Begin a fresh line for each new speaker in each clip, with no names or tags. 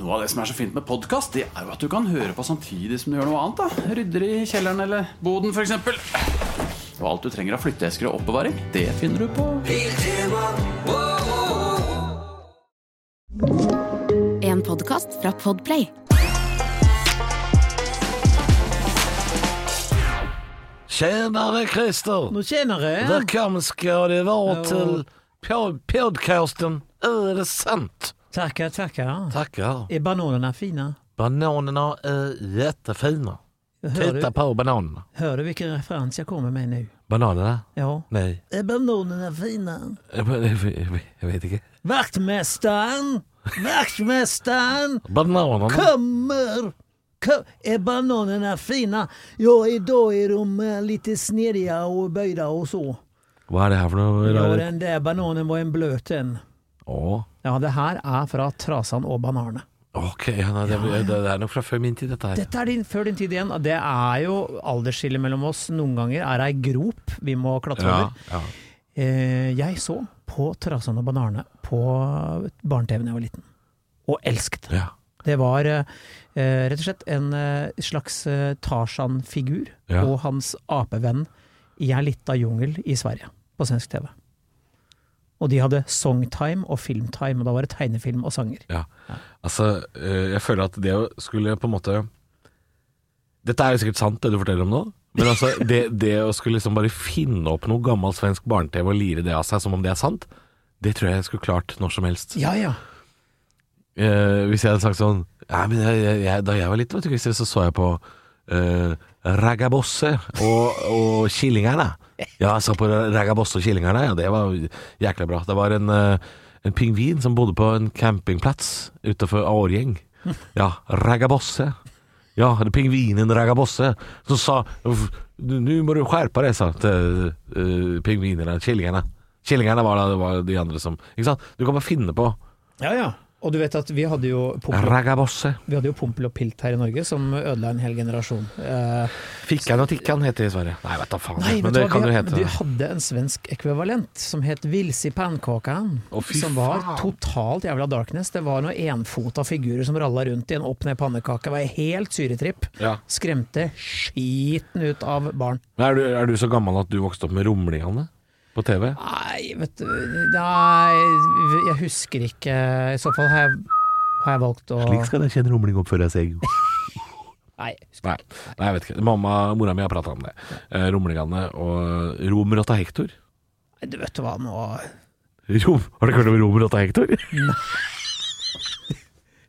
Noe av det som er så fint med podkast, det er jo at du kan høre på samtidig som du gjør noe annet. da Rydder i kjelleren eller boden, f.eks. Og alt du trenger av flytteesker og oppbevaring, det finner du på
En podkast fra Podplay.
Tjenare Christer!
Nå tjenere.
Välkommen ska det vara
Ja.
till pod- podcasten Är det sant?
Tackar, tackar.
Tackar.
Är bananerna fina?
Bananerna är jättefina.
Hör
Titta
du,
på bananerna.
hör du vilken referens jag kommer med nu?
Bananerna?
Ja.
Nej.
Är bananerna fina?
Jag vet- jag vet inte.
Vaktmästaren! Vaktmästaren!
Bananerna?
Kommer! Ko- Är bananerna fina? Ja, idag är de eh, lite snediga och böjda och så.
Vad är det här för
Ja,
något?
den där bananen var en blöt en.
Ja.
Ja, det här är från Trasan och bananerna.
Okej, Hanna, det, det, det er nok fra før min tid, dette her.
Dette er din, før din tid igjen. og Det er jo aldersskillet mellom oss. Noen ganger er det ei grop vi må klatre
ja,
over.
ja.
Eh, jeg så på Trasan og bananene på barne-TV da jeg var liten, og elsket det.
ja.
Det var eh, eh, rett og slett en eh, slags eh, Tarzan-figur
Ja.
og hans apevenn i ei lita jungel i Sverige, på svensk TV. Og de hadde songtime og filmtime, og da var det tegnefilm og sanger.
Ja. Altså, eh, jeg føler at det å skulle på en måte Dette er jo sikkert sant, det du forteller om nå. Men altså, det, det å skulle liksom bare finne opp noe gammel svensk barne-TV og lire det av seg som om det er sant, det tror jeg jeg skulle klart når som helst.
Ja, ja.
Eh, hvis jeg hadde sagt sånn ja, men jeg, jeg, jeg, Da jeg var liten, vet du, Christer, så så jeg på eh, Ragabosse og, og Killingarna. Ja, jeg så på Ragabosse og Killingarna, ja, det var jækla bra. Det var en, eh, en pingvin som bodde på en campingplass utenfor Årgjeng. Ja, Ragabosse. Ja, det er pingvinen Ragabosse som sa Nå må du skjerpe deg, sa til eh, pingvinene, killingene. Killingene var da det var de andre som Ikke sant? Du kan bare finne på
ja, ja. Og du vet at vi hadde jo Pompel
Ragabosse.
Vi hadde jo Pompel og Pilt her i Norge, som ødela en hel generasjon. Eh,
Fikkan og Tikkan heter det i Sverige. Nei, vet da faen.
nei,
men
vet du
det
hva?
kan
vi,
jo hete
vi hadde en svensk ekvivalent som het Vilse i pannkakan.
Å, fy
som var
faen.
totalt jævla darkness. Det var noen enfota figurer som ralla rundt i en opp ned pannekake. Det var helt syretripp.
Ja.
Skremte skiten ut av barn.
Men er, du, er du så gammel at du vokste opp med rumlingene på TV?
Nei, vet du Nei, jeg husker ikke. I så fall har jeg, har jeg valgt å
skal jeg kjenne rumling oppføre seg.
Nei.
Nei, nei, jeg vet ikke. Mamma, Mora mi har prata om det. Eh, rumlingene og Romer og ta Hektor.
Du vet du hva, nå
Rom, har du hørt om Romer og ta Hektor?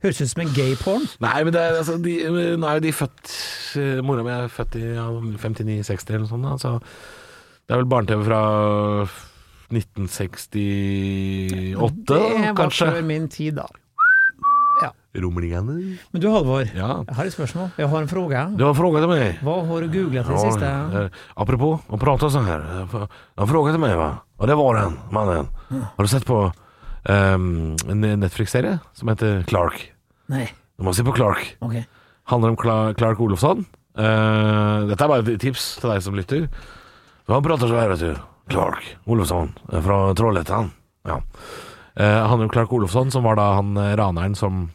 Høres ut som en gay-porn.
Nei, men det er, altså, de, nå er jo de født eh, Mora mi er født i ja, 59-60 eller noe sånt. da, så det er vel barne-TV fra 1968,
Det var
kanskje?
før min tid, da.
Rumlingene?
Men du Halvor,
Ja.
jeg har et spørsmål. Jeg har en fråga.
Du har frågat mig.
Hva har du googlet i det siste?
eh, apropå att prata så här. Han frågade mig va? Och det var den mannen. Har du sett på ehm, en Netflix-serie som heter Clark?
Nei,
Du måste se på Clark.
ok.
Handlar om Cla- Clark Olofsson. Eh, detta är bara ett tips till dig som lyssnar. Så han pratar så här vet du. Clark Olofsson eh, från Trollhättan. Ja. Eh, handlar om Clark Olofsson som var da han eh, raneren som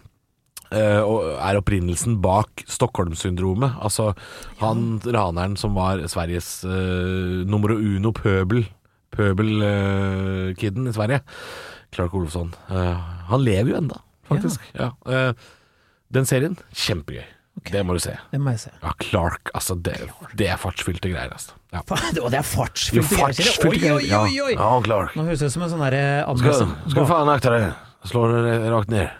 eh, og er opprinnelsen bak Stockholm-syndromet. Altså han raneren som var Sveriges eh, numero uno pøbel, pøbelkiden i Sverige. Clark Olofsson. Eh, han lever jo enda, faktisk. Ja. Eh, den serien, kjempegøy. Det må du se.
Det må jeg se.
Ja, Clark, altså det, det er fartsfylte greier, altså. Ja.
Faen, og det
Jo,
er fartsfylte greier. sier det.
fartsfylte
Oi, oi,
greier.
oi, oi!
Ja, ja Clark.
Nå høres det ut som en sånn derre
Skal, skal du
Ser
faen akte deg. Slår deg rakt ned.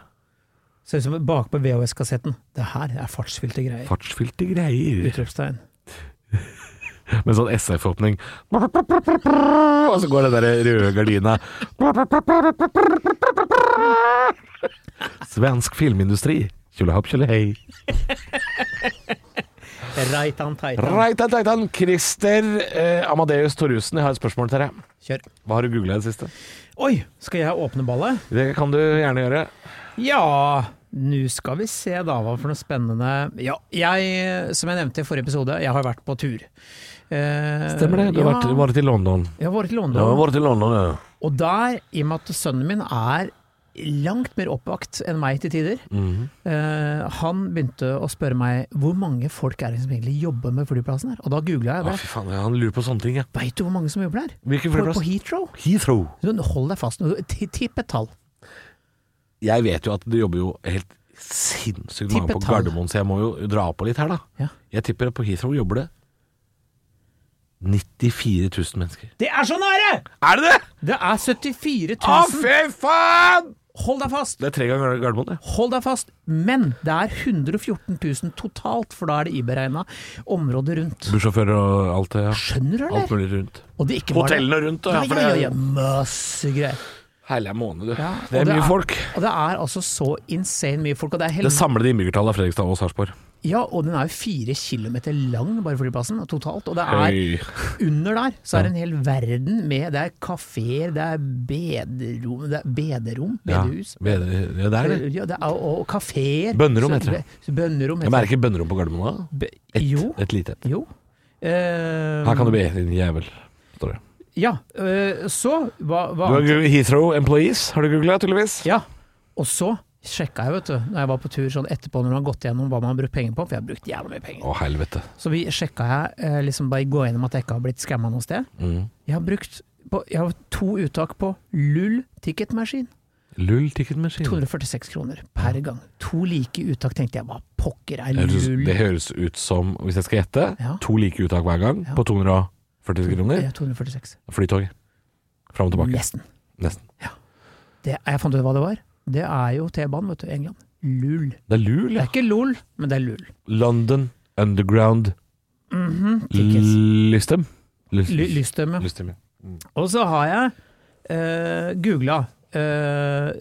ut som bakpå VHS-kassetten. Det her er fartsfylte greier.
Fartsfylte greier.
Utropstegn.
Med sånn SF-åpning. Og så går den der røde gardina. Svensk filmindustri. Tjolahopp, tjolahei.
Reitan Teitan.
Reitan, reitan. Christer eh, Amadeus Thorussen, jeg har et spørsmål til deg.
Kjør.
Hva har du googla i det siste?
Oi, skal jeg åpne ballet?
Det kan du gjerne gjøre.
Ja nå skal vi se da hva for noe spennende Ja, jeg, som jeg nevnte i forrige episode, jeg har vært på tur. Eh,
Stemmer det. Du har vært, vært i London.
Jeg har vært i London.
Du har vært i London, ja.
Og der, i og med at sønnen min er langt mer oppvakt enn meg til tider.
Mhm.
Eh, han begynte å spørre meg hvor mange folk er det som egentlig jobber med flyplassen her. Og da googla jeg
Å,
det.
fy faen, han lurer på sånne ting, ja.
Veit du hvor mange som jobber der?
Ah, Hvilken
På-
flyplass?
På Heathrow.
Heathrow.
Så Hold deg fast, nå. Ti- tipp et tall.
Jeg vet jo at det jobber jo helt sinnssykt mange på
Tippetall.
Gardermoen, så jeg må jo dra på litt her, da.
Ja.
Jeg tipper at på Heathrow jobber det 94 000 mennesker.
Det er så nære!
Er Ah, det det?!
Det er 74
Å,
000.
fy faen!
Hold deg fast!
Det er tre ganger Gardermoen, det.
Hold deg fast! Men det er 114 000 totalt, for da er det iberegna området rundt.
Bussjåfører og alt det. Ja.
Skjønner du,
Alt
eller?
mulig rundt.
Og det er ikke bare det.
Hotellene rundt,
Ja,
da.
ja, ja, ja, masse greier.
Herlig måned, du.
Ja,
det
og
er mye folk.
Og det er altså så insane mye folk. Og det er
Det
helt,
samlede innbyggertallet av Fredrikstad og Sarpsborg.
ja, og den er jo fire kilometer lang, bare flyplassen, totalt. Og det er
Oi.
under der, så er det en hel verden med Det er kafeer, det er bederom, det er bederom
Ja,
bedehus.
ved- ja, det er det.
Ja, det er, og og kafeer.
Bønnerom
Så-
heter det.
så Bønnerom
Jeg
heter det.
merker bønnerom på Gardermoen da.
Be-
Et,
Jo.
et lite.
jo. Eh,
Her kan du be, din jævel. Står det.
Ja, eh, så hva, hva
Du har googlet Heathrow Employees, har du googla, tydeligvis?
Ja, og så sjekka jeg, vet du, når jeg var på tur sånn etterpå når man har gått gjennom hva man har brukt penger på, for jeg har brukt jævla mye penger.
Å, helvete.
Så vi sjekka jeg, eh, liksom bare gå gjennom at jeg ikke har blitt skamma noe sted.
Mm.
Jeg har brukt på, jeg har to uttak på Lull ticketmaskin.
Mm. Lull ticketmaskin.
246 kroner per gang. To like uttak, tenkte jeg. Hva pokker er
Det høres-
Lull?
Det høres ut som, hvis jeg skal gjette,
Ja.
to like uttak hver gang
Ja.
på 240 kroner.
Ja, 246.
Flytog. Fram og tilbake.
Nesten.
Nesten.
Det, jeg fant ut hva det var. Det er jo T-banen, vet du, i England. Lull.
Det er lul,
Det
ja.
er ikke LOL, men det er Lull.
London Underground
Mhm. Tickets.
Lystem. Lys-
Ly- Lystdømme.
Lystem, ja.
Og så har jeg uh, googla eh,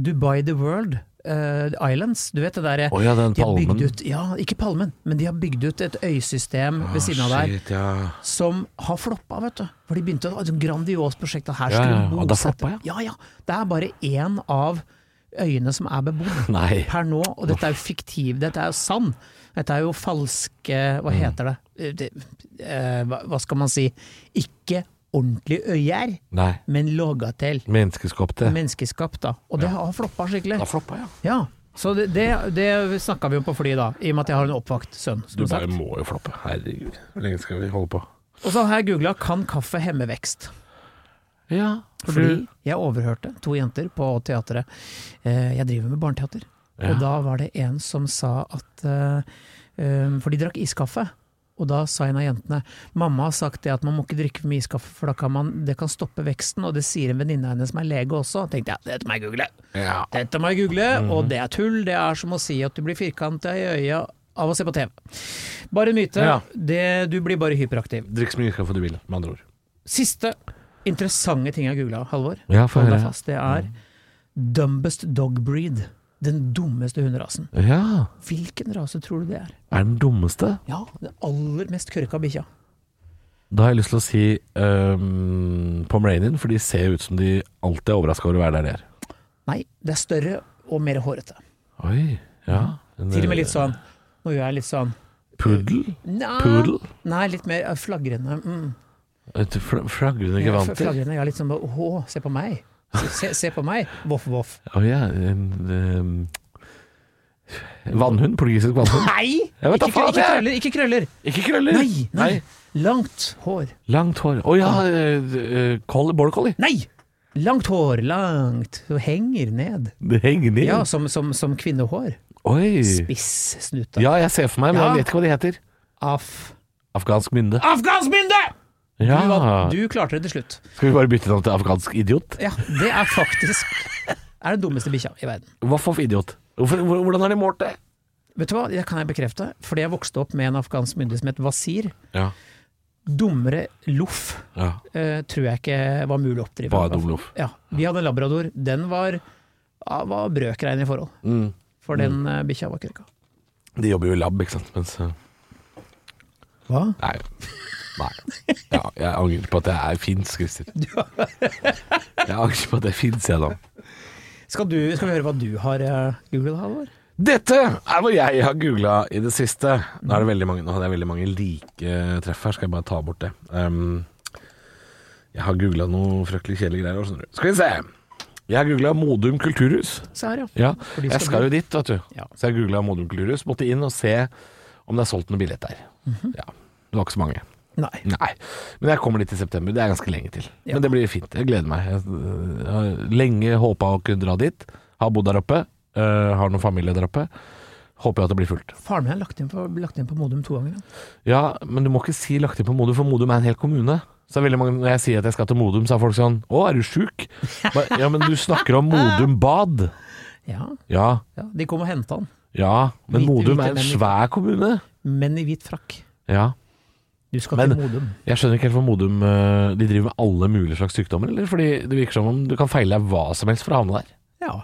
Dubai the World eh, Islands. Du vet det eh, derre
Å ja, den
de har bygd
palmen.
ut, ja, ikke palmen, men de har bygd ut et øysystem ved siden av der
Ah, Shit, ja.
som har floppa, vet du. For de begynte å ha et sånt grandios prosjekt, og her
Ja,
skulle
ja,
vi
og da floppa,
bosette ja. ja, Det er bare én av øyene som er bebodd
Nei.
per nå, og dette er jo fiktiv, dette er jo sann. Dette er jo falske
Mm.
Hva heter det? Eh, det eh, hva, hva skal man si? Ikke ordentlig øyer
Nei.
men laga til.
Menneskeskapte.
Menneskeskapt, da. Og det har floppa skikkelig.
Da floppa, ja.
Ja, så det, det, det snakka vi om på fly, da, i og med at jeg har en oppvakt sønn. som
Du bare
sagt.
må jo floppe. Herregud, hvor lenge skal vi holde på?
Og så har jeg googla 'kan kaffe hemme vekst'?
Ja,
Fordi jeg overhørte to jenter på teatret. Eh, Jeg driver med barneteater.
Ja.
Og da var det en som sa at eh, eh, For de drakk iskaffe. Og da sa en av jentene mamma har sagt det at man må ikke drikke for mye iskaffe, for da kan man, det kan stoppe veksten. Og det sier en venninne av henne som er lege også. Tenkte jeg, dette må jeg google.
Ja.
Dette må jeg google, og det er tull. Det er som å si at du blir firkanta i øya av å se på TV. Bare en myte.
Ja.
Det, du blir bare hyperaktiv.
Drikk så mye kaffe du vil, med andre ord.
Siste interessante ting jeg googla, Halvor,
Ja, få
Hold deg
høre.
fast, det er dumbest dog breed. Den dummeste hunderasen.
Ja,
Hvilken rase tror du det er?
er den dummeste?
Ja, Den aller mest kørka bikkja.
Da har jeg lyst til å si um, Pomeranian, for de ser ut som de alltid er overraska over å være der de er.
Nei, det er større og mer hårete.
Oi, ja.
Til og med litt sånn Nå gjør jeg litt sånn
Puddel?
Nei,
Poodle?
nei litt mer eh, flagrende. Mm.
Et fl- Flagrende
Ja,
gevanter?
Flagrende, ja, litt sånn bare, Åh, se på meg. Se, se på meg. Voff, voff.
Å ja, en um, Vannhund? Portugisisk vannhund?
Nei!
Jeg vet da
Ikke, krø-
faen,
ikke
jeg.
krøller, ikke krøller.
Ikke krøller?
Nei, nei. Langt hår.
Langt hår. Å ja, eh, eh, collie- border collie.
Nei! Langt hår, langt. Så henger ned.
Det henger ned.
Ja, som, som, som kvinnehår.
Oi.
Spiss snute.
Ja, jeg ser for meg, men
Ja.
jeg vet ikke hva de heter.
Af.
Afghansk mynde.
Afghansk mynde! Du,
Ja.
var- du klarte det til slutt.
Skal vi bare bytte navn til afghansk idiot?
Ja, det er faktisk Er den dummeste bikkja i verden.
Voff of idiot. Hvorfor, hvor- hvordan har de målt det?
Vet du hva, det kan jeg bekrefte, fordi jeg vokste opp med en afghansk mynde som het Wasir.
Ja.
Dummere loff
ja.
eh, tror jeg ikke var mulig å oppdrive.
Bare dum loff.
Ja, vi hadde en labrador. Den var, ja, var brøkrein i forhold.
Mm.
For den eh, bikkja var kørka.
De jobber jo i lab, ikke sant. Mens eh,
Hva?
Nei. Nei. Ja, jeg angrer på at jeg er fins, Christer. Jeg angrer på at jeg fins, jeg, da.
Skal, du, skal vi høre hva du har eh, googlet, Halvor?
Dette er hva jeg har googla i det siste. Nå, er det veldig mange, nå hadde jeg veldig mange like treff her, skal jeg bare ta bort det. Um, jeg har googla noe fryktelig kjedelige greier òg, skjønner du. Skal vi se. Jeg googla Modum kulturhus.
Se her, ja.
Ja,
For de
jeg
skal
skal
bli-
jo dit, vet du.
Ja.
Så jeg googla Modum kulturhus. Måtte inn og se om det er solgt noen billetter der.
Mhm.
Ja, Det var ikke så mange.
Nei.
Nei. Men jeg kommer dit i september. Det er ganske lenge til.
Ja.
Men det blir fint. Jeg gleder meg. Jeg øh, har lenge håpa å kunne dra dit. Har bodd der oppe. øh, har noen familie der oppe. Håper jo at det blir fullt.
Faren min har lagt inn på, lagt inn på Modum to ganger. han.
Ja, men du må ikke si lagt inn på Modum, for Modum er en hel kommune. Så er veldig mange, Når jeg sier at jeg skal til Modum, så er folk sånn Å, er du sjuk? Men- Ja, men du snakker om Modum bad.
Ja,
Ja,
ja. De kom og henta han,
ja. Men
Hvite,
Modum er
hvite
en
menn.
svær kommune.
men i hvit frakk.
Ja.
Du skal
Men-
til Modum.
Jeg skjønner ikke helt hvor Modum øh, De driver med alle mulige slags sykdommer, eller? Fordi det virker som om du kan feile deg hva som helst for å havne der.
Ja.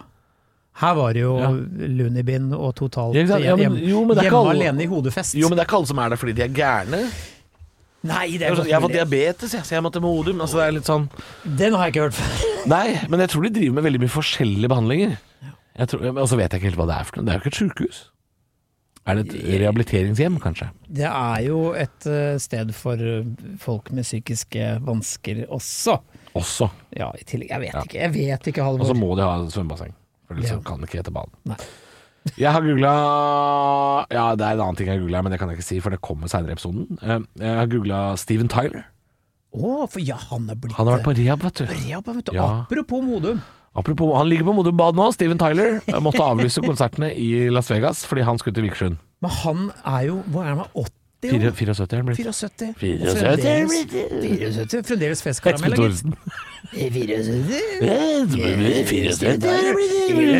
Her var det jo
Ja.
Lunibin og totalt
Ja, ikke sant? Ja, men-
hjem-
jo, men det er ikke
hjemme
alle-
alene i hodefest.
Jo, men det er ikke alle som er der fordi de er gærne.
Nei, det
Jeg,
er
har-
godt
jeg har fått
mulig.
diabetes, jeg, så jeg må til Modum. Altså, det er litt sånn
Den har jeg ikke hørt før.
Nei, men jeg tror de driver med veldig mye forskjellige behandlinger. Jeg tror, og så vet jeg ikke helt hva det er for noe. Det er jo ikke et sykehus. Er det et rehabiliteringshjem, kanskje?
Det er jo et eh, sted for eh, folk med psykiske vansker også.
Også.
Ja, i tillegg. Jeg vet ikke, jeg vet ikke, Halvor.
Og så må de ha et svømmebasseng. For ellers
Ja.
så kan det ikke hete baden.
Nei.
Jeg har googla Ja, det er en annen ting jeg har googla, men det kan jeg ikke si, for det kommer seinere i episoden. Eh, Jeg har googla Steven Tyler.
Å, for ja, han er blitt
Han har vært på rehab, vet du.
Ja, vet du,
Ja.
Apropos Modum.
Apropos, han ligger på Modum Bad nå, Steven Tyler. Jeg måtte avlyse konsertene i Las Vegas fordi han skulle til Vikersund.
Men han er jo Hvor er han? 80?
Fire-
år?
74 er han blitt.
74.
74.
Fremdeles, 74. Fremdeles
Espen
festkaramell, gitt.
Thoresen.
74. Ille
74.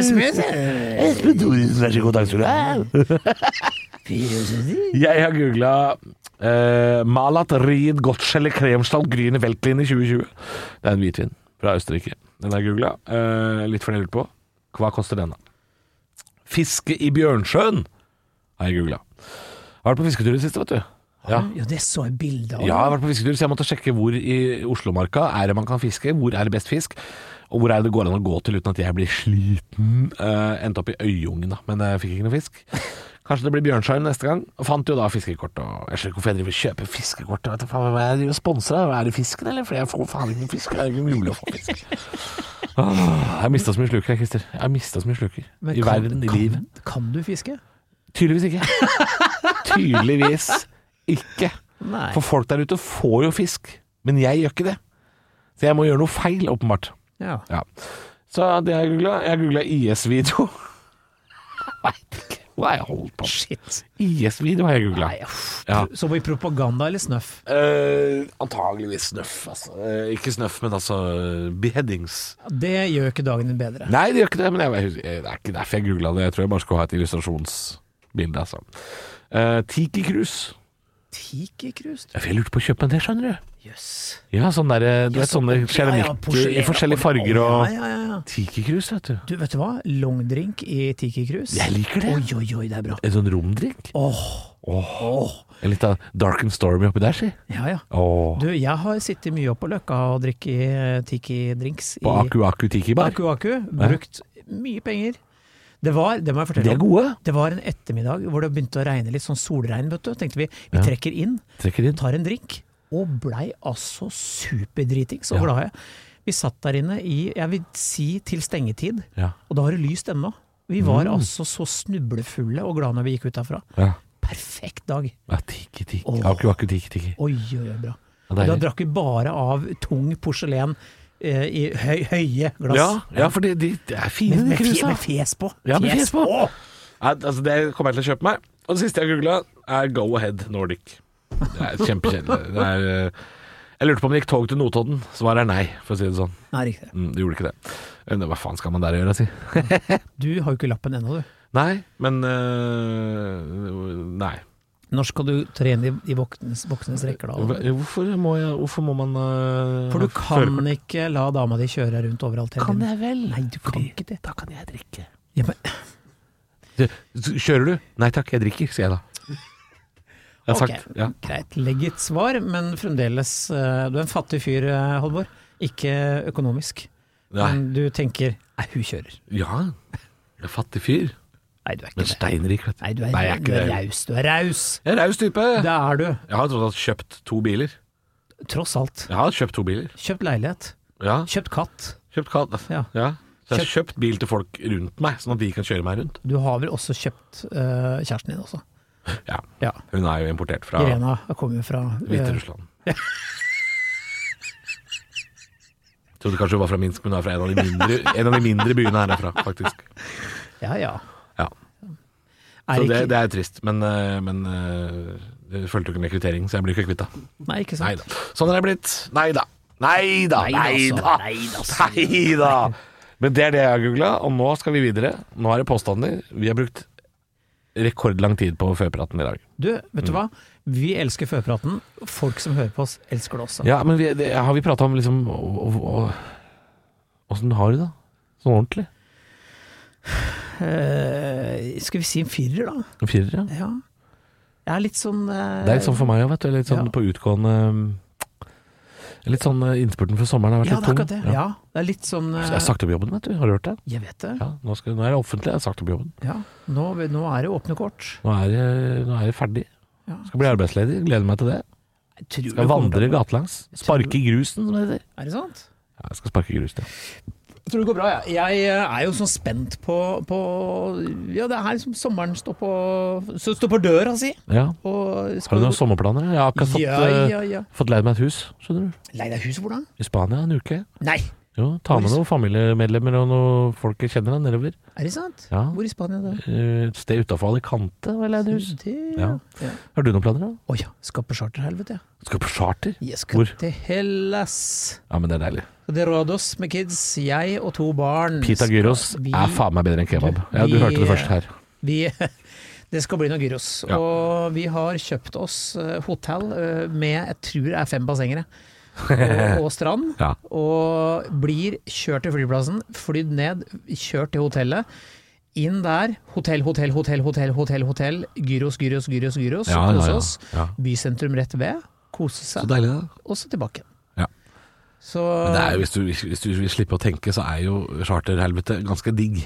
smooth.
Espen Thoresen, vær så god, takk skal du ha.
74.
Jeg har googla Malat Ried Gottschelle Kremstall Grüne Weltlin i 2020. Det er en hvitvin fra Østerrike. Den har jeg googla. litt fordi jeg lurte på. Hva koster den, da? Fiske i Bjørnsjøen har jeg googla. Har vært på fisketur i det siste, vet du. Ja.
Ja, det så jeg bilde av.
Ja, jeg har vært på fisketur, så jeg måtte sjekke hvor i Oslomarka er det man kan fiske, hvor er det best fisk, og hvor er det det går an å gå til uten at jeg blir sliten. Eh, endte opp i Øyungen, da, men jeg fikk ikke noe fisk. Kanskje det blir Bjørnskjær neste gang. Og fant jo da fiskekort, og jeg skjønner ikke hvorfor jeg driver og kjøper fiskekort. og Vet du faen hva jeg driver og sponser av? Er det fisken, eller? For jeg får faen ikke noe fisk. Det er ikke mulig å få fisk. Åh, jeg har mista så mye sluker, jeg, Christer. Jeg har mista så mye sluker.
Men
I
kan-
verden, i
kan-
livet.
Kan du fiske?
Tydeligvis ikke. Tydeligvis ikke.
Nei.
For folk der ute får jo fisk, men jeg gjør ikke det. Så jeg må gjøre noe feil, åpenbart.
Ja.
Ja. Så det har jeg googla. Jeg har googla IS-video. Veit ikke hva jeg holdt på med.
Shit.
IS-video har jeg googla.
Nei, uff.
Ja.
Som i propaganda eller snøff?
Eh, antageligvis snøff, altså. Eh, ikke snøff, men altså beheadings.
Det gjør ikke dagen din bedre.
Nei, det gjør ikke det, men jeg, jeg, husker- det er ikke derfor jeg googla det. Jeg tror jeg bare skulle ha et illustrasjonsbilde, altså. Eh, Tiki Cruise.
Tikikrus?
Ja, for Jeg lurte på å kjøpe en, det skjønner du.
Jøss.
Ja, sånn derre Du vet sånne
porselen
keramikker i forskjellige farger og
Ja, ja, ja.
Tikikrus, vet du.
Du, vet du hva? Longdrink i tikikrus.
Jeg liker det.
Oi, oi, oi, det er bra.
En sånn romdrink.
Åh.
En litt av Dark and Stormy oppi der, si.
Ja, ja.
Åh.
Du, jeg har sittet mye opp på Løkka og drikket eh, tiki-drinks.
På
i-
Aku Aku Tiki Bar.
Aku Aku. Brukt mye penger. Det var, det må jeg
De
fortelle
er
om.
gode.
Det var en ettermiddag hvor det begynte å regne litt, sånn solregn, vet du. Tenkte vi, vi
Ja.
trekker inn,
Trekker inn.
tar en drink, og blei altså superdritings og glade. Vi satt der inne i, jeg vil si til stengetid,
Ja.
og da var det lyst ennå. Vi var
Mm.
altså så snublefulle og glade når vi gikk ut derfra.
ja.
Perfekt dag.
ja tiki Tiki.
Åh.
Aku Aku Tiki Tiki.
Oi, oi, oi, bra.
Ja,
Da
deilig.
drakk vi bare av tung porselen eh, i høy, høye glass.
Ja, ja, for de, de, de er fine,
Med,
de
med, fe-
cruisa.
med fjes på.
Ja, med fjes på. Ja, altså, det kommer jeg til å kjøpe meg. Og det siste jeg googla, er Go Ahead Nordic. Det er kjempekjedelig. Det er, eh, Jeg lurte på om det gikk tog til Notodden. Svaret er nei, for å si det sånn.
Nei, riktig.
Mm, det gjorde ikke det. Men Hva faen skal man der gjøre, si?
Du har jo ikke lappen ennå, du.
Nei, men øh, Nei.
Når skal du trene i, i voksnes, voksnes rekker, da?
Hva- Hvorfor må, jeg, hvorfor må man øh,
For du
ha
kan
førerkort?
ikke la dama di kjøre rundt overalt hele
Kan
tiden.
jeg vel?
Nei, du kan ikke det.
Da kan jeg drikke.
Ja, men,
Du, s- kjører du? Nei takk, jeg drikker, sier jeg da. Jeg har
Ok.
sagt ja.
greit, legg et svar, men fremdeles eh, Du er en fattig fyr, eh, Halvor. Ikke økonomisk.
Nei.
Men du tenker Nei, hun kjører.
ja. Jeg er fattig fyr,
Nei, du er ikke
men
det.
steinrik, vet
Nei, du er,
Nei, jeg er
du
ikke
er
det.
raus. Du er raus!
Jeg er raus type.
Det er du,
Jeg har tross alt kjøpt to biler.
tross alt.
Jeg har kjøpt to biler.
Kjøpt leilighet.
Ja.
Kjøpt katt.
Kjøpt katt.
Ja.
Ja. Så jeg har kjøpt bil til folk rundt meg, sånn at de kan kjøre meg rundt.
Du har vel også kjøpt eh, kjæresten din også?
Ja.
Ja.
Hun er jo importert fra
Irena kommer jo fra eh,
Hviterussland. Trodde kanskje hun var fra Minsk, men hun er fra en av de mindre, en av de mindre byene her herfra, faktisk.
Ja, ja.
Ja.
Er
Så
ikke,
det, det er trist, men, eh, men eh, det fulgte jo ikke med kvittering, så jeg blir ikke kvitt det.
Nei, ikke
Nei
sant.
da. Sånn er jeg blitt. Nei da. Nei da. Nei
altså.
da. Nei da. Men det er det jeg har googla, og nå skal vi videre. Nå er det påstander. Vi har brukt rekordlang tid på førpraten i dag.
Du, vet
Mm.
du hva? Vi elsker førpraten. Folk som hører på oss, elsker det også.
Ja, men vi, det, har vi prata om liksom Åssen har du det? Sånn ordentlig?
Eh, skal vi si en firer, da?
En Firer, ja.
Ja. Jeg er litt sånn eh,
Det er litt sånn for meg òg, vet du. Litt sånn
Ja.
på utgående eh, Litt sånn eh, innspurten for sommeren har vært
Ja, det er
litt
akkurat
tung.
det. Ja, det er litt sånn eh,
Jeg har sagt opp jobben, vet du. Har du hørt det?
Jeg vet det.
Ja, nå, skal, nå er det offentlig. Jeg har sagt opp jobben.
Ja. Nå, nå er det åpne kort.
Nå er jeg, nå er jeg ferdig.
Ja.
Skal bli arbeidsledig. Gleder meg til det.
Jeg tror det
Skal
kommer til
vandre
å-
gatelangs. Sparke i grusen, som det heter.
Er det sant?
Ja, jeg skal sparke i grus, det.
Jeg tror det går bra, jeg. Jeg eh, er jo sånn spent på, på Ja, det er her som sommeren står på, så står på døra si.
Ja.
Og
Har du noen sommerplaner? Jeg har akkurat fått,
Ja,
eh,
ja, ja.
fått leid meg et hus, skjønner du.
Lei deg hus, hvordan?
I Spania en uke.
Nei!
Jo, ta med
Hvor-
noen familiemedlemmer og noen folk jeg kjenner deg nedover.
Er det sant?
Ja.
Hvor i Spania da?
Eh, Et sted utafor Alicante var jeg leid hus.
Det, ja.
Ja. Har du noen planer, da?
Å ja, skal på charterhelvete, ja.
Skal på charter?
Jeg skal
Hvor?
til Hellas.
Ja, men det er deilig.
Og Det råder oss med kids, jeg og to barn.
Pita gyros
Skal vi-
er faen meg bedre enn kebab. Ja, du
vi-
hørte det først her.
Vi, det skal bli noe gyros.
Ja.
Og vi har kjøpt oss eh, hotell eh, med jeg tror det er fem bassenger. jeg. Og, og strand.
Ja.
Og blir kjørt til flyplassen, flydd ned, kjørt til hotellet. Inn der. Hotell, hotell, hotell, hotell, hotell. hotell Gyros, gyros, gyros. gyros
Ja, ja,
Kose
ja.
oss.
Ja.
Bysentrum rett ved. Kose
Så
seg.
deilig, da.
Og så tilbake.
Ja.
Så
Men det er jo, hvis, du, hvis du vil slippe å tenke, så er jo charterhelvete ganske digg.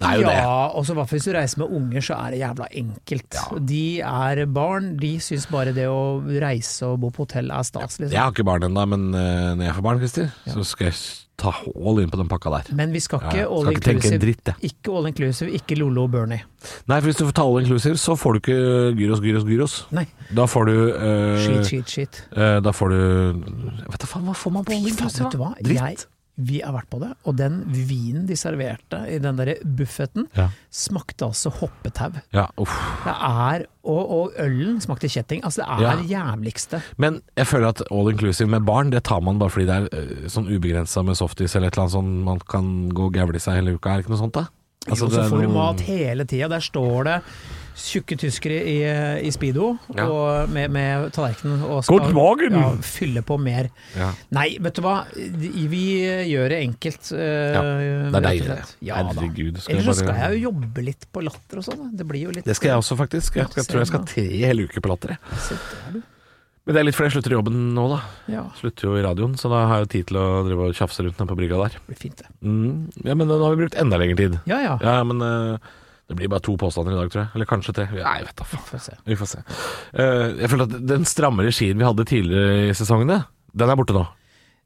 Det er jo
ja,
det.
og så i hvert fall hvis du reiser med unger, så er det jævla enkelt. De er barn, de syns bare det å reise og bo på hotell er stas, liksom.
Jeg har ikke barn ennå, men eh, når jeg får barn, Christer, så skal jeg s- ta all inn på den pakka der.
Men vi skal
Ja,
ikke
ja.
all
Skal ikke tenke en
inclusive.
dritt, jeg.
ikke all inclusive, ikke Lolo og Bernie.
Nei, for hvis du får ta all inclusive, så får du ikke gyros, gyros, gyros.
Nei.
Da får du eh,
Shit, shit, shit.
eh, Da får du Jeg Vet da faen, hva får man på all
Fy faen,
inclusive?
vet du hva?
da? Dritt.
Jeg, vi har vært på det, og den vinen de serverte i den derre buffeten,
Ja.
smakte altså hoppetau.
Ja, uff.
Det er Og, og ølen smakte kjetting. Altså, det er det jævligste.
Men jeg føler at all inclusive med barn, det tar man bare fordi det er eh, sånn ubegrensa med softis eller et eller annet sånn man kan gå og gævle i seg hele uka, er det ikke noe sånt da? Altså,
jo,
det
så
er
får du
noe-
mat hele tida. Der står det tjukke tyskere i, i speedo
Ja.
og med, med tallerkenen og
God morgen!
ja, fylle på mer.
Ja.
Nei, vet du hva. De- Vi gjør det enkelt. eh,
Ja, det er deilig, det.
Ja, da.
Herregud, skal
Ellers så
jeg bare-
skal jeg jo jobbe litt på latter og sånn. da. Det blir jo litt
Det skal jeg også, faktisk. Jeg, skal, jeg tror jeg skal te i hele uke på latter. jeg.
Se der, du.
Men det er litt fordi jeg slutter i jobben nå, da.
Ja,
Slutter jo i radioen, så da har jeg jo tid til å drive og tjafse rundt nede på brygga der.
det blir fint, det.
Mm. Ja, men nå har vi brukt enda lengre tid.
Ja ja.
Ja, men eh, det blir bare to påstander i dag, tror jeg. Eller kanskje tre. Nei, jeg vet da faen.
Får se.
Vi får se. Eh, jeg føler at den stramme regien vi hadde tidligere i sesongene, den er borte nå.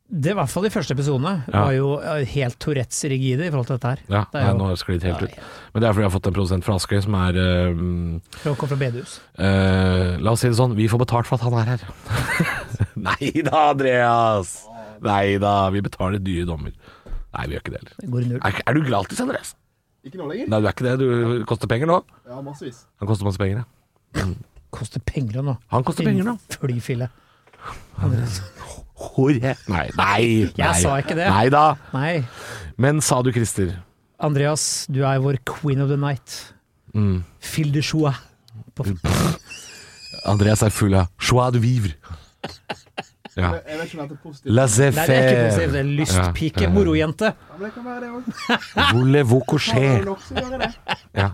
Det i hvert fall de første episodene
Ja.
var jo eh, helt Tourettes rigide i forhold til dette her.
Ja,
Det er jo-
nei, nå har det sklidd helt
Nei.
ut. Men det er fordi jeg har fått en produsent fra Askøy som er eh,
Fra å komme fra bedehus.
Eh, la oss si det sånn, vi får betalt for at han er her. Nei da, Andreas. Nei da, vi betaler dyre dommer. Nei, vi gjør ikke det heller.
Det går i null.
Er, er du gratis, Andreas?
Ikke nå lenger?
Nei, du er ikke det. Du koster penger nå.
Ja, massevis.
Han koster masse penger, ja.
Koster penger nå.
Han koster penger nå.
Flyfille.
Hore. Nei, nei. nei.
sa ikke det.
Nei da.
Nei,
Men sa du, Christer
Andreas, du er vår queen of the night.
Mm.
Fil de joie.
Andreas er full av joie de vivre. Ja.
Jeg, jeg vet ikke om det er positivt.
Laissez
Nei, det er ikke
faire.
positivt. Det er lystpike,
Ja.
morojente.
Ja, men det kan være det òg.
Voulez-vous
Har du
coucher?
nok, så gjør jeg det.
Ja.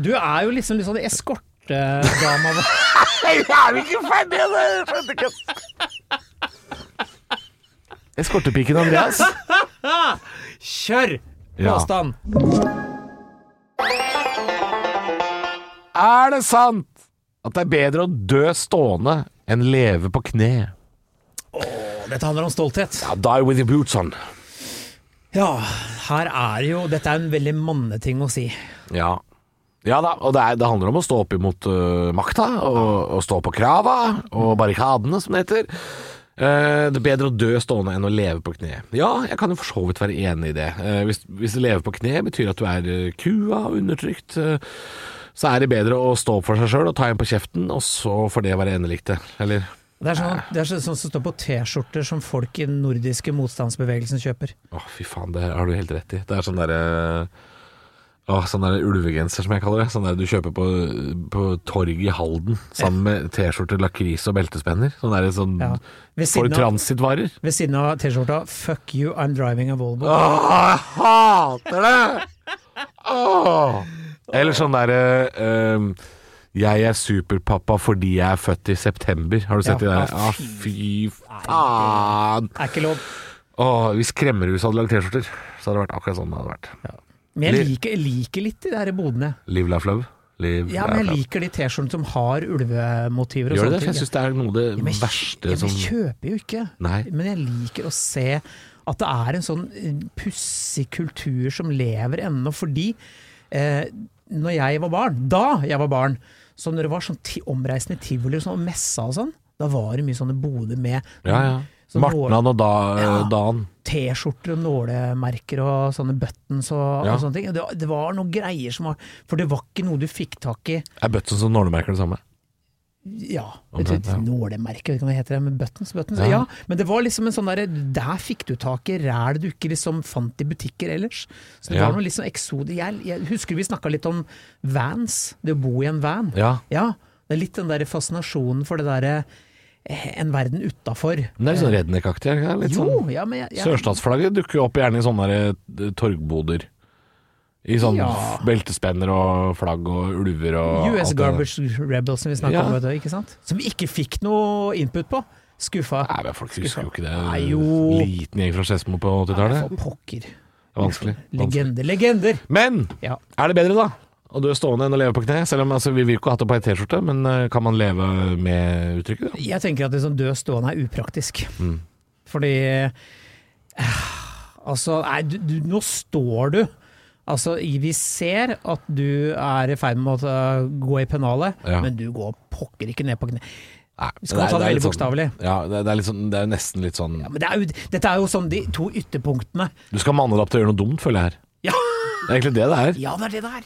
Du er jo liksom litt sånn eskortedama.
Eskortepiken Andreas.
Kjør!
Ja.
Påstand.
Er det sant at det er bedre å dø stående enn leve på kne?
Dette handler om stolthet.
die with your boots on.
Ja, her er jo Dette er en veldig manneting å si.
Ja. Ja da, og det, er, det handler om å stå opp imot øh, makta, og, og stå på krava, og barrikadene, som det heter. Eh, det er bedre å dø stående enn å leve på kne. Ja, jeg kan jo for så vidt være enig i det. Eh, hvis, hvis å leve på kne betyr at du er eh, kua og undertrykt, eh, så er det bedre å stå opp for seg sjøl og ta en på kjeften, og så får det være endelikte. Eller
Det er sånn, det er sånn, sånn som står på T-skjorter som folk i den nordiske motstandsbevegelsen kjøper.
Å, fy faen, det har du helt rett i. Det er sånn derre Åh, sånn der ulvegenser, som jeg kaller det. Sånn der du kjøper på, på torget i Halden sammen med T-skjorte, lakris og beltespenner. Sånn der, sånn
Ja. Ved
For
siden av,
transitvarer.
ved siden av T-skjorta 'Fuck you, I'm driving a Volvo'.
Åh, jeg hater det! Åh. Eller sånn derre ehm, Jeg er superpappa fordi jeg er født i september. Har du sett
Ja.
det
Ja,
der? Ah, fy faen!
Er ikke lov.
Åh, hvis Kremmerhuset hadde lagd T-skjorter, så hadde det vært akkurat sånn det hadde vært.
Men jeg liker, jeg liker litt de der bodene.
Liv laugh love. Liv,
Ja,
laugh
men
love.
jeg liker de T-skjortene som har ulvemotiver og
Gjør det det?
sånne
For jeg
ting.
syns det er noe av det
Ja, men jeg-
verste
jeg,
som
Jeg kjøper jo ikke,
Nei.
men jeg liker å se at det er en sånn eh, pussig kultur som lever ennå, fordi eh, når jeg var barn, da jeg var barn, så når det var sånn ti omreisende tivoli og sånn, og messa og sånn, da var det mye sånne boder med
Ja, ja.
sånn nål-
Martnan og da, eh,
Ja.
Dan.
T-skjorter og nålemerker og sånne buttons og,
Ja.
og sånne ting. Det, var- det var noen greier som var For det var ikke noe du fikk tak i
Er Bøtsen som nålemerker det samme?
Ja,
Omtrent, ja.
nålemerke, vet ikke hva det heter, det, men buttons, buttons.
Ja.
Ja. men det var liksom en sånn derre Der fikk du tak i ræl du ikke liksom fant i butikker ellers. Så det
Ja.
var noe litt sånn eksode... Jeg, jeg husker vi snakka litt om vans, det å bo i en van.
Ja.
Ja, det er litt den derre fascinasjonen for det derre eh, en verden utafor.
Men det er litt sånn redneck-aktig. er det ikke det? Litt
Eh, Jo,
sånn
ja, men jeg, jeg,
Sørstatsflagget dukker jo opp gjerne i sånne der, eh, torgboder. I sånn
Ja.
beltespenner og flagg og ulver og alt
US
det der.
Garbage Rebels som vi snakka
Ja.
om, vet du, ikke sant? Som vi ikke fikk noe input på. Skuffa.
Nei, men folk husker jo ikke det.
Nei, jo.
Liten gjeng fra Skedsmo på 80-tallet.
For pokker.
Det er Vanskelig. Vanskelig.
Legender, legender!
Men
Ja.
Er det bedre da? Å dø stående enn å leve på kne? Selv om altså, vi vil jo ikke ha det på ei T-skjorte, men eh, kan man leve med uttrykket? da?
Jeg tenker at liksom død stående er upraktisk. Fordi eh, Altså, nei, du, du, nå står du. Altså, i- vi ser at du er i ferd med å ta- gå i pennalet,
Ja.
men du går pokker ikke ned på kne.
Nei,
Skal man
det er-
ta
det
det
er
veldig
litt
bokstavelig?
Sånn, ja, det, det, er litt sånn, det er jo nesten litt sånn
Ja, men det er jo, dette er jo sånn de to ytterpunktene.
Du skal manne deg opp til å gjøre noe dumt, føler jeg her.
Ja,
Det er egentlig det det er.
ja det er det det er!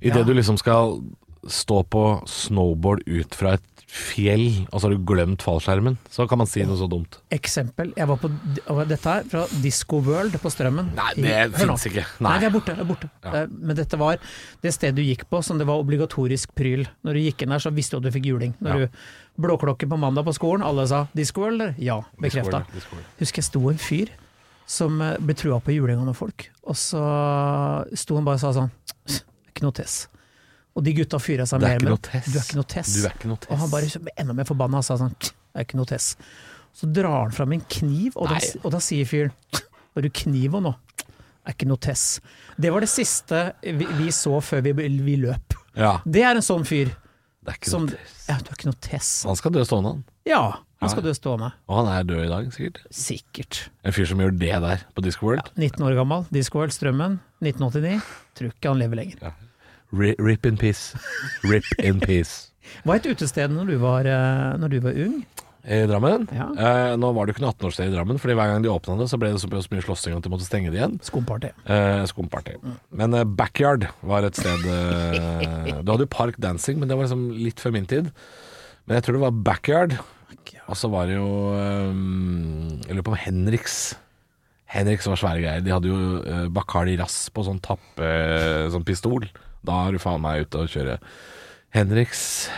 Idet
ja.
du liksom skal stå på snowboard ut fra et fjell, og så har du glemt fallskjermen, så kan man si noe så dumt.
Eksempel. Jeg var på og dette her, fra Disco World på Strømmen.
Nei,
I-
det
Hør nå.
finnes ikke.
Nei,
Nei.
det er borte. Det er borte. Det er- Men dette var det stedet du gikk på som det var obligatorisk pryl. Når du gikk inn der, så visste du at du fikk juling. Når
Ja.
du Blåklokke på mandag på skolen, alle sa 'Disco World', eller? Ja, bekrefta.
Discord, Discord.
Husker jeg sto en fyr som eh, ble trua på julinga med folk, og så sto han bare og sa sånn Ikke noe tess. Og de gutta fyra seg
Det er
mer
ikke
med
noe tess.
Du er ikke noe tess.
Du er ikke noe tess.
Og han bare ble enda mer forbanna og sa sånn «Tsk, Det er ikke noe tess. Så drar han fram en kniv, og da, og da sier fyren «Tsk, Har du kniva nå? «Tsk, Det er ikke noe tess. Det var det siste vi, vi så før vi, vi løp.
Ja,
Det er en sånn fyr
det er ikke
som
noe tess.
Ja, du er ikke noe tess.
Han skal dø stående, han.
Ja, han skal dø stående.
Og han er død i dag, sikkert.
Sikkert.
En fyr som gjør det der på Discworld.
19 år gammel, Discoworld Strømmen, 1989. Tror ikke han lever lenger.
Ri- Rip in peace. Rip in peace.
Hva het utestedet når du var, eh, når du var ung?
I Drammen.
Ja.
Eh, nå var det jo ikke noe 18-årssted i Drammen, Fordi hver gang de åpna det, så ble det så, så mye slåssing at de måtte stenge det igjen.
Skumparty.
Eh, Skumparty. Men eh, Backyard var et sted eh, Du hadde jo Park Dancing, men det var liksom litt før min tid. Men jeg tror det var Backyard. Og så var det jo eh, Jeg lurer på om Henriks. Henriks var svære greier. De hadde jo eh, Bacardi Rass på sånn tappe... sånn pistol. Da er du faen meg ute å kjøre. Henriks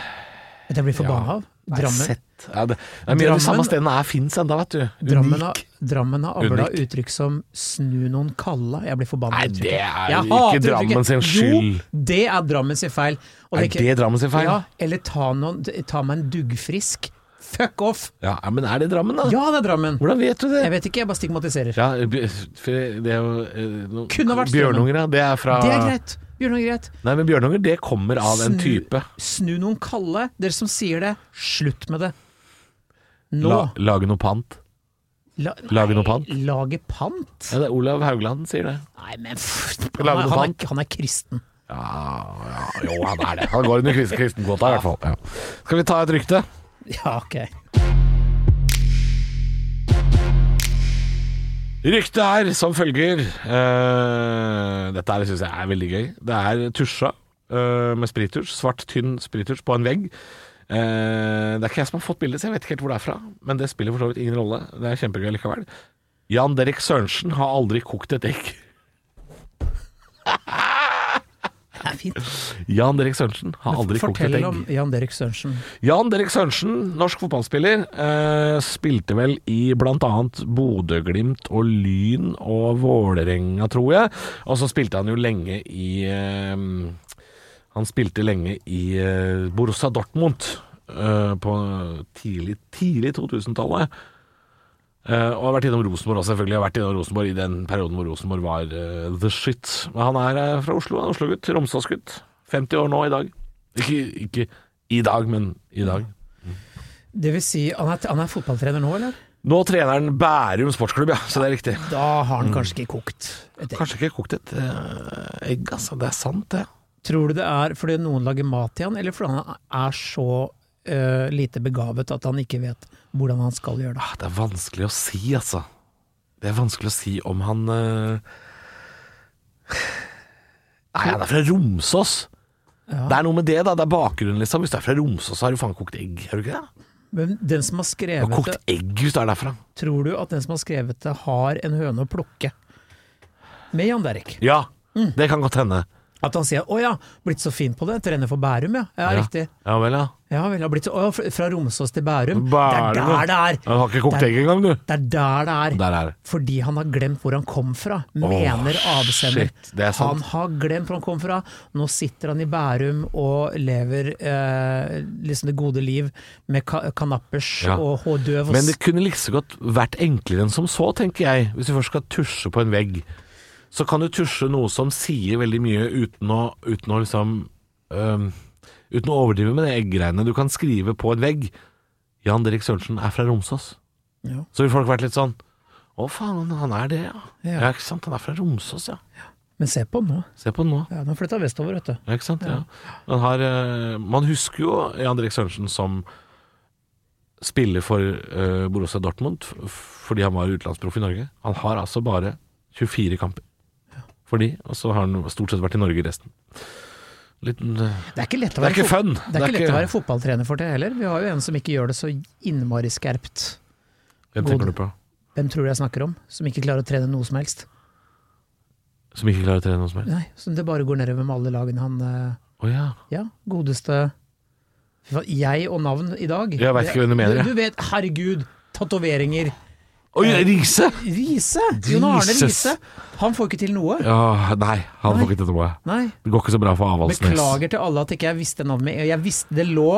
Dette blir jeg forbanna av.
Nei,
Drammen.
sett. Ja, det, det er mye av de
Drammen-
samme stedene er fins ennå, vet du. Unik.
Drammen har, Drammen har avla
Unik.
uttrykk som 'snu noen kalla'. Jeg blir forbanna.
Nei,
av uttrykket.
det er
Jeg
jo ikke
hater
Drammen sin skyld.
Jo, det er Drammen sin feil. Og
Er det Drammen sin feil?
Ja, eller ta, noen, ta meg en duggfrisk. Fuck off!
Ja, ja, Men er det Drammen, da?
Ja, det er Drammen.
Hvordan vet du det?
Jeg vet ikke, jeg bare stigmatiserer.
Ja, b- for det er jo eh, no,
Kunne vært Strømmen.
Bjørnunger, ja. Det er fra
Det er greit. Bjørnar greit.
Nei, men Bjørnunger, det kommer av en
Snu-
type.
Snu noen kalde. Dere som sier det, slutt med det. Nå.
La, lage noe pant.
La,
Lage noe pant?
Nei, Lage pant?
Ja, det er Olav Haugland sier det.
Nei, men pff,
Lage
han, er-
noe
han,
pant?
er, han er kristen.
Ja, ja,
Ah,
jo, han er det. Han går under kristen kristenkvota i hvert fall. Ja. Skal vi ta et rykte?
Ja, ok.
Ryktet er som følger eh, Dette her syns jeg er veldig gøy. Det er tusja eh, med sprittusj. Svart, tynn sprittusj på en vegg. Eh, det er ikke jeg som har fått bildet, så jeg vet ikke helt hvor det er fra. Men det spiller for så vidt ingen rolle. Det er kjempegøy likevel. Jan Derek Sørensen har aldri kokt et egg.
Det er fint.
Jan Derek Sørensen har aldri kokt et
Fortell
egg.
om Jan Derek Sørensen.
Jan Derek Sørensen, norsk fotballspiller, eh, spilte vel i bl.a. Bodø-Glimt og Lyn og Vålerenga, tror jeg. Og så spilte han jo lenge i eh, Han spilte lenge i eh, Borussia Dortmund eh, på tidlig, tidlig 2000-tallet. Eh, og har vært innom Rosenborg også, selvfølgelig. Har vært innom Rosenborg i den perioden hvor Rosenborg var eh, the shit. Men han er eh, fra Oslo, han er Oslo-gutt. Romsdalsgutt. 50 år nå i dag. Ikke, ikke i dag, men i dag.
Det vil si, han er, han er fotballtrener nå, eller?
Nå trener han Bærum sportsklubb, ja, så det er riktig.
Da har
Mm.
han kanskje ikke kokt et egg.
Kanskje ikke kokt et eh, egg, altså. Det er sant, det.
Tror du det er fordi noen lager mat til han, eller fordi han er så eh, lite begavet at han ikke vet hvordan han skal gjøre det?
Ah, Det er vanskelig å si, altså. Det er vanskelig å si om han eh, Nei, han er fra Romsås. Det er noe med det, da. Det er bakgrunnen, liksom. Hvis du er fra Romsås, så har du faen kokt egg, har du ikke det?
Men den som har
Du har
skrevet det,
kokt egg hvis du er derfra.
tror du at den som har skrevet det, har en høne å plukke? Med Jan Derek.
Ja, det kan godt hende.
At han sier 'Å ja, blitt så fin på det. Trener for Bærum, ja'. Ja, riktig.
Ja vel, ja.
Ja vel, har blitt så, å, ja, fra Romsås til Bærum.
Bærum,
det
ja.
er der det er!
Han har ikke kokt
Det er-
egg engang, du.
Det er der det er.
Der er det.
Fordi han har glemt hvor han kom fra, mener avsender.
shit, det er sant.
Han har glemt hvor han kom fra. Nå sitter han i Bærum og lever eh, liksom det gode liv med ka kanappers
Ja.
og hådøv. og
Men det
s-
kunne like så godt vært enklere enn som så, tenker jeg. Hvis du først skal tusje på en vegg, så kan du tusje noe som sier veldig mye uten å, uten å liksom øhm, Uten å overdrive med det egggreiene. Du kan skrive på en vegg 'Jan Derek Sørensen er fra Romsås'.
Ja.
Så vil folk vært litt sånn 'Å faen, han er det, ja'.
Ja.
ja. ikke sant? Han er fra Romsås, ja.
Men se på han nå.
Se på han nå.
Ja, han har flytta vestover, vet du.
Ja, ikke sant? Ja. Man, har, eh, man husker jo Jan Derek Sørensen som spiller for eh, Borussia Dortmund f- fordi han var utenlandsproff i Norge. Han har altså bare 24 kamper for de, og så har han stort sett vært i Norge resten. Liten, eh,
Det er ikke lett å
det er
være,
ikke
fot-
fun!
det er ikke lett å være fotballtrener for det heller. Vi har jo en som ikke gjør det så innmari skerpt.
Hvem tenker du på?
Hvem tror du jeg snakker om? Som ikke klarer å trene noe som helst.
Som ikke klarer å trene noe som helst?
Nei, Som det bare går nedover med alle lagene han eh,
Å ja.
Ja, godeste Fy faen, Jeg og navn i dag.
Jeg vet ikke hvem du mener, jeg.
Du vet, herregud, tatoveringer.
Oi, Riise!
Riise! Jon Arne
Jesus.
Riise. Han får ikke til noe.
Ja, nei, han
Nei.
får ikke til noe.
Nei.
Det går ikke så bra for Avaldsnes.
Beklager til alle at ikke jeg visste navnet. mitt. Jeg visste Det lå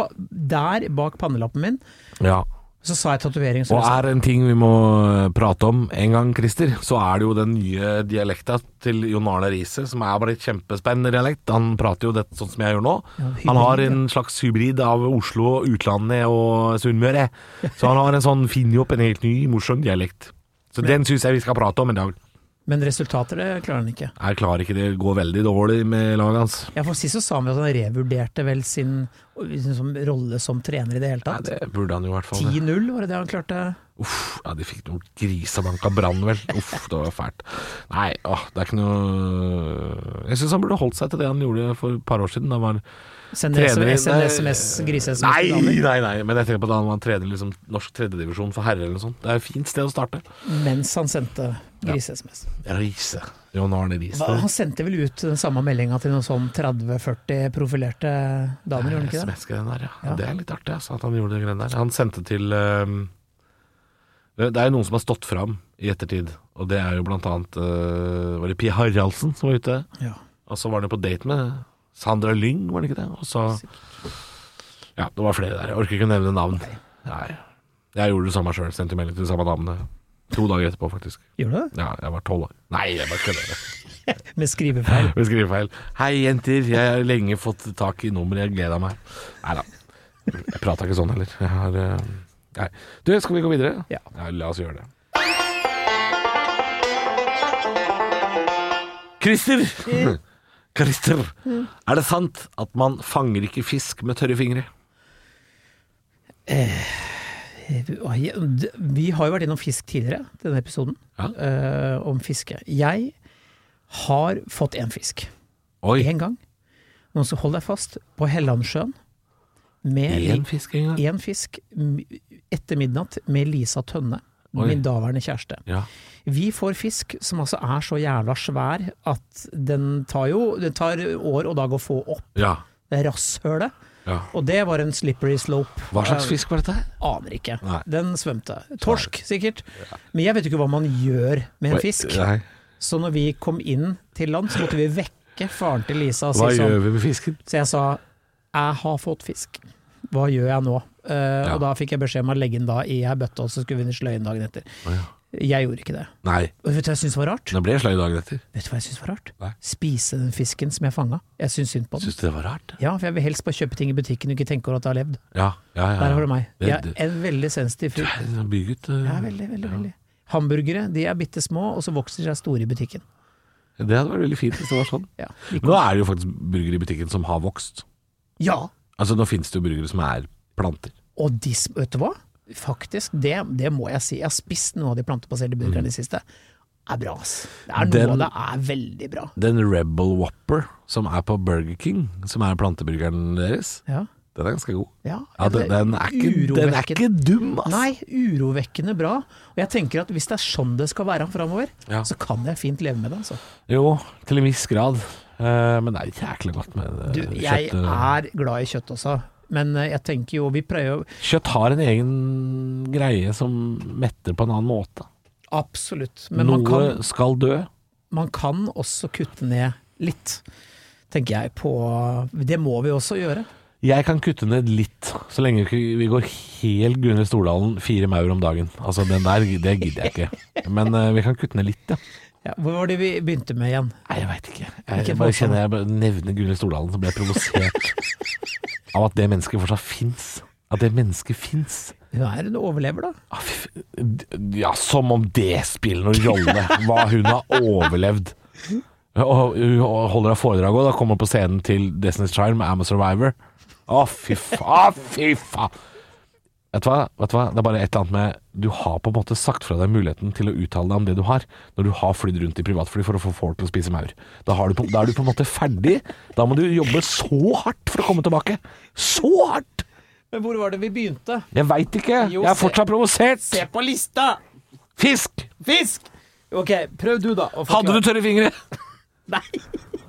der bak pannelappen min.
Ja.
Så sa jeg tatovering. så
Og
jeg sa-
er en ting vi må eh, prate om en gang, Christer, så er det jo den nye dialekta til Jon Arne Riise, som er bare et kjempespennende dialekt. Han prater jo dette sånn som jeg gjør nå.
Ja, hybrid,
Han har en slags hybrid av Oslo, utlandet og Sunnmøre. Så han har en sånn funnet opp en helt ny, morsom dialekt. Så den syns jeg vi skal prate om en dag.
Men resultater det klarer han ikke.
Jeg klarer ikke det, går veldig dårlig med laget hans.
Ja, for Sist så sa han vel at han revurderte vel sin liksom, rolle som trener i det
Nei,
hele tatt.
det burde han jo i hvert fall.
10-0, var det det han klarte?
Uff, ja, de fikk noen grisebanka brann, vel. Uff, det var fælt. Nei, åh, det er ikke noe Jeg syns han burde holdt seg til det han gjorde for et par år siden. Da han var
Sende
trener i-
SMS, grise-SMS til
Nei,
damer.
nei, nei, men jeg tenker på da han var trener i liksom, norsk tredjedivisjon for herrer eller noe sånt. Det er et fint sted å starte.
Mens han sendte grise-SMS.
Riise. Jon Arne Riise.
Hva- Han sendte vel ut den samme meldinga til noen sånn 30-40 profilerte damer, gjorde han ikke det?
sms den der, ja. Det er litt artig altså, at han gjorde det greiene der. Han sendte til ehm, Det er jo noen som har stått fram i ettertid, og det er jo blant annet eh, Var det Pia Haraldsen som var ute?
Ja.
Og så var han jo på date med Sandra Lyng, var det ikke det? Og så Ja, det var flere der. Jeg orker ikke å nevne navn. Nei. Jeg gjorde det samme sjøl. Sendte melding til de samme damene. To dager etterpå, faktisk.
Gjør du det?
Ja, jeg var tolv år. Nei, jeg bare kødder.
Med skrivefeil.
Vi skriver feil. Hei, jenter. Jeg har lenge fått tak i nummeret. Jeg gleder meg. Nei da. Jeg prata ikke sånn heller. Jeg har eh, Nei. Du, skal vi gå videre?
Ja.
La oss gjøre det. Christer! Christer, er det sant at man fanger ikke fisk med tørre fingre?
Oi, d- Vi har jo vært innom fisk tidligere, denne episoden,
Ja.
eh, om fiske. Jeg har fått én fisk.
Oi,
Én gang. Noen som holder deg fast på Hellandsjøen med
én fisk en gang?
én fisk m- etter midnatt med Lisa Tønne,
Oi.
min daværende kjæreste.
Ja.
Vi får fisk som altså er så jævla svær at den tar jo Det tar år og dag å få opp
ja.
det rasshølet.
ja.
Og det var en slippery slope.
Hva slags
Eh,
fisk var dette? her?
Aner ikke.
Nei.
Den svømte. Torsk, sikkert. Men jeg vet jo ikke hva man gjør med en fisk.
Nei.
Så når vi kom inn til land, så måtte vi vekke faren til Lisa og
Hva
si
gjør
sånn.
vi med fisken?
Så jeg sa 'jeg har fått fisk, hva gjør jeg nå?' Eh,
Ja.
Og da fikk jeg beskjed om å legge den da i ei bøtte, og så skulle vi inn i sløyen dagen etter. Jeg gjorde ikke det.
Nei,
Og vet du hva jeg syntes var rart?
det ble sløy dagen etter.
Vet du hva jeg synes var rart?
Nei.
Spise den fisken som jeg fanga. Jeg syns synd på den.
Syns du det var rart?
Ja, for jeg vil helst bare kjøpe ting i butikken og ikke tenke over at det har levd.
Ja, ja, ja.
Der har du meg.
Det-
Jeg
det-
er en veldig sensitiv
Du
fyr.
er en bygutt. eh.
Ja, veldig, veldig, veldig. Hamburgere de er bitte små, og så vokser de seg store i butikken.
Det hadde vært veldig fint hvis det var sånn.
Ja, like-
Nå er det jo faktisk burgere i butikken som har vokst.
ja.
Altså Nå finnes det jo burgere som er planter.
og de, sm- vet du hva? Faktisk, det, det må jeg si. Jeg har spist noen av de plantebaserte burgerne i det siste. Det er bra, ass. Det er
Mm. Den-
noe av det er veldig bra.
Den Rebel Whopper som er på Burger King, som er planteburgeren deres,
Ja.
den er ganske god.
ja.
Ja, den, den, er ikke, den er ikke dum, ass!
Nei, urovekkende bra. Og jeg tenker at hvis det er sånn det skal være framover,
Ja.
så kan jeg fint leve med det, altså.
Jo, til en viss grad. Eh, men det er jæklig godt med eh,
Du, jeg
kjøtt. eh.
er glad i kjøtt også, men eh, jeg tenker jo Vi prøver jo
Kjøtt har en egen greie som metter på en annen måte.
absolutt, men
Noe
man kan
skal dø.
man kan også kutte ned litt, tenker jeg på Det må vi også gjøre.
Jeg kan kutte ned litt, så lenge ikke vi går helt Gunhild Stordalen fire maur om dagen. Altså, den der, det gidder jeg ikke. Men eh, vi kan kutte ned litt, ja.
Ja, hvor var det vi begynte med igjen?
Nei, jeg veit ikke. Jeg
Ikke
bare
voldsomt.
kjenner jeg bare nevner Gunhild Stordalen, så blir jeg provosert av at det mennesket fortsatt fins. At det mennesket fins.
Hun er en overlever, da.
Ah, fy f- Ja, som om det spiller noen rolle hva hun har overlevd. Og hun holder et foredrag òg, da kommer hun på scenen til Destiny's Child med I'm a Survivor. Å, fy faen! fy faen! Vet du, hva? Vet du hva, det er bare et eller annet med Du har på en måte sagt fra deg muligheten til å uttale deg om det du har, når du har flydd rundt i privatfly for å få folk til å spise maur. Da, har du på, da er du på en måte ferdig. Da må du jobbe så hardt for å komme tilbake. Så hardt!
Men hvor var det vi begynte?
Jeg veit ikke.
Jo,
Jeg er
se-
fortsatt provosert.
på lista!
Fisk!
Fisk! Ok, prøv du, da. å
Hadde du
forklare.
tørre fingre
Nei!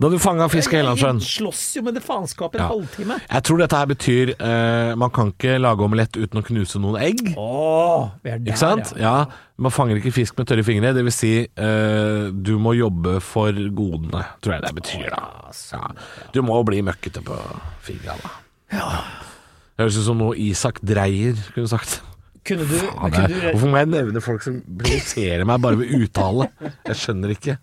da du fanga fisk i Hellandsjøen?
Jeg slåss jo med det faenskapet en
Ja.
halvtime.
Jeg tror dette her betyr eh, man kan ikke lage omelett uten å knuse noen egg.
Åh, vi er der,
Ikke sant?
ja.
Ja, Man fanger ikke fisk med tørre fingre. Det vil si, eh, du må jobbe for godene, tror jeg det betyr. da ja. Du må bli møkkete på fingra, da. Det høres ut som noe Isak Dreyer kunne sagt.
Kunne du,
Faen, jeg-
kunne du,
Hvorfor må jeg nevne folk som provoserer meg bare ved uttale? Jeg skjønner ikke.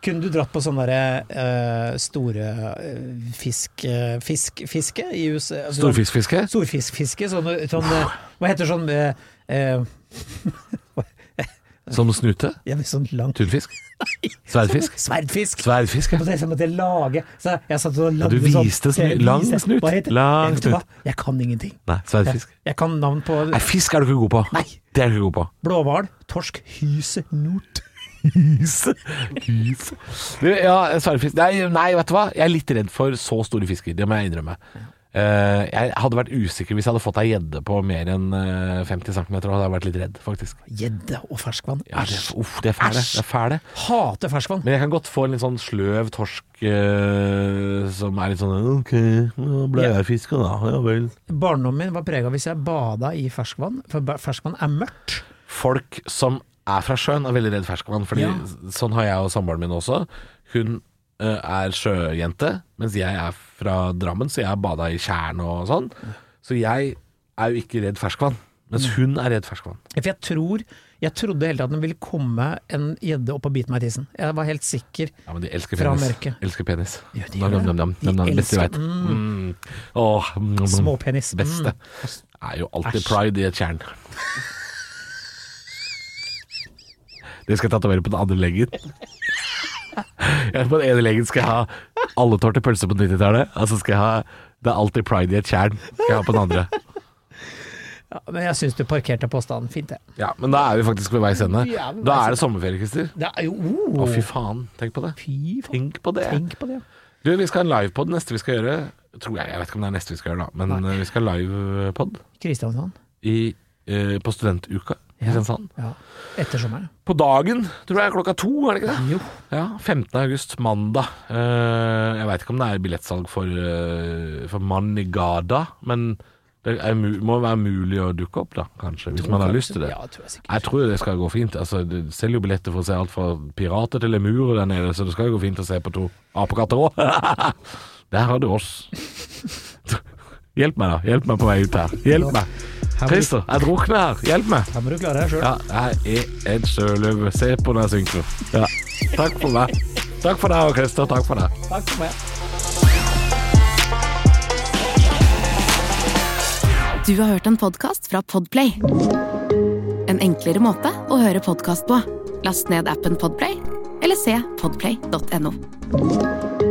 kunne du dratt på sånn derre eh, store eh, fisk, eh, fisk, fiske i USA? Altså, sånn-
Storfiskfiske?
Storfiskfiske, sånn, sånn eh, Hva heter sånn eh, eh,
Som snute?
jeg vet, Sånn langt
Tunfisk? Sverdfisk?
Sverdfisk!
Sverdfisk, ja.
Og så jeg måtte jeg lage så Jeg satt og
Ja,
lagde
du viste
sånn,
snu- lang
Jeg viste-
snut.
Hva heter-
Lang
Vet du hva?
snut.
Jeg kan ingenting.
Nei,
Jeg,
sverdfisk.
jeg kan navn på
Nei, fisk er du ikke god på.
Nei.
Det er du ikke god på.
blåhval, torsk, hyse, nort.
Hyse. Hyse. Du, ja, sverdfisk. Nei, nei, vet du hva? Jeg er litt redd for så store fisker, det må jeg innrømme. Eh, jeg hadde vært usikker hvis jeg hadde fått ei gjedde på mer enn eh, 50 cm. Hadde jeg vært litt redd, faktisk.
Gjedde og ferskvann.
Ja, det,
Æsj.
uff, det er fæle.
Æsj.
Det er fæle.
Hater ferskvann.
Men jeg kan godt få en litt sånn sløv torsk eh, som er litt sånn Ok, nå ble jeg fiska, da. Ja vel.
Barndommen min var prega hvis jeg bada i ferskvann, for ba- ferskvann er mørkt.
folk som er fra sjøen er veldig redd ferskvann. Fordi
Ja.
Sånn har jeg og samboeren min også. Hun eh, er sjøjente, mens jeg er fra Drammen, så jeg har bada i tjern og sånn. Så jeg er jo ikke redd ferskvann.
Mm.
Mens hun er redd ferskvann.
For jeg tror Jeg trodde hele tiden at det ville komme en gjedde opp og bite meg i tissen. Jeg var helt sikker.
Ja, men de elsker
Fra
penis.
mørket.
Elsker penis.
Ja, de
Nam,
gjør det.
nam, nam,
De
nam, nam, Beste jeg
elsker-
vet. Mm. Åh, mm, mm,
Småpenis.
Beste. Er jo alltid
Mm. Æsj.
pride i et tjern. Det skal jeg tatovere på den andre leggen. Jeg, på den ene legen skal jeg ha alle tårte pølser på 90-tallet, og så skal jeg ha Det er alltid pride i et tjern. Skal jeg ha på den andre.
Ja, men jeg syns du parkerte påstanden fint, jeg.
Ja, Men da er vi faktisk ved veis ende.
Vi er ved
Da
veis
er det sommerferie, Christer.
Det er jo oh,
Å, fy faen. Tenk på det.
Fy faen.
Tenk på det.
Tenk på det, ja.
Du, vi skal ha en livepod neste vi skal gjøre. Tror jeg, jeg vet ikke om det er neste vi skal gjøre, da. Men eh, vi skal ha livepod
Kristiansand.
i, eh, på studentuka i Kristiansand.
Ja. Etter sommeren.
På dagen, tror jeg, klokka to, er det ikke det?
Jo.
Ja, 15. august, mandag. Eh, jeg veit ikke om det er billettsalg for, uh, for Manigada, men det er, mu- må være mulig å dukke opp, da, kanskje. Hvis man har lyst til det.
Ja, tror jeg sikkert.
Jeg tror det skal gå fint. Altså, du selger jo billetter for å se alt fra pirater til lemurer der nede, så det skal jo gå fint å se på to apekatter òg. Der har du oss. Hjelp meg, da. Hjelp meg på vei ut her. Hjelp meg.
Her må du-
Christer, jeg drukner her. Hjelp meg.
her må du klare deg sjøl.
Ja, jeg er en sjøløve. Se på når jeg synker. Ja. Takk for meg. Takk for deg, Christer. Takk for deg.
Takk for meg.
Du har hørt en podcast fra Podplay En enklere måte å høre podcast på Last ned appen Podplay Eller se podplay.no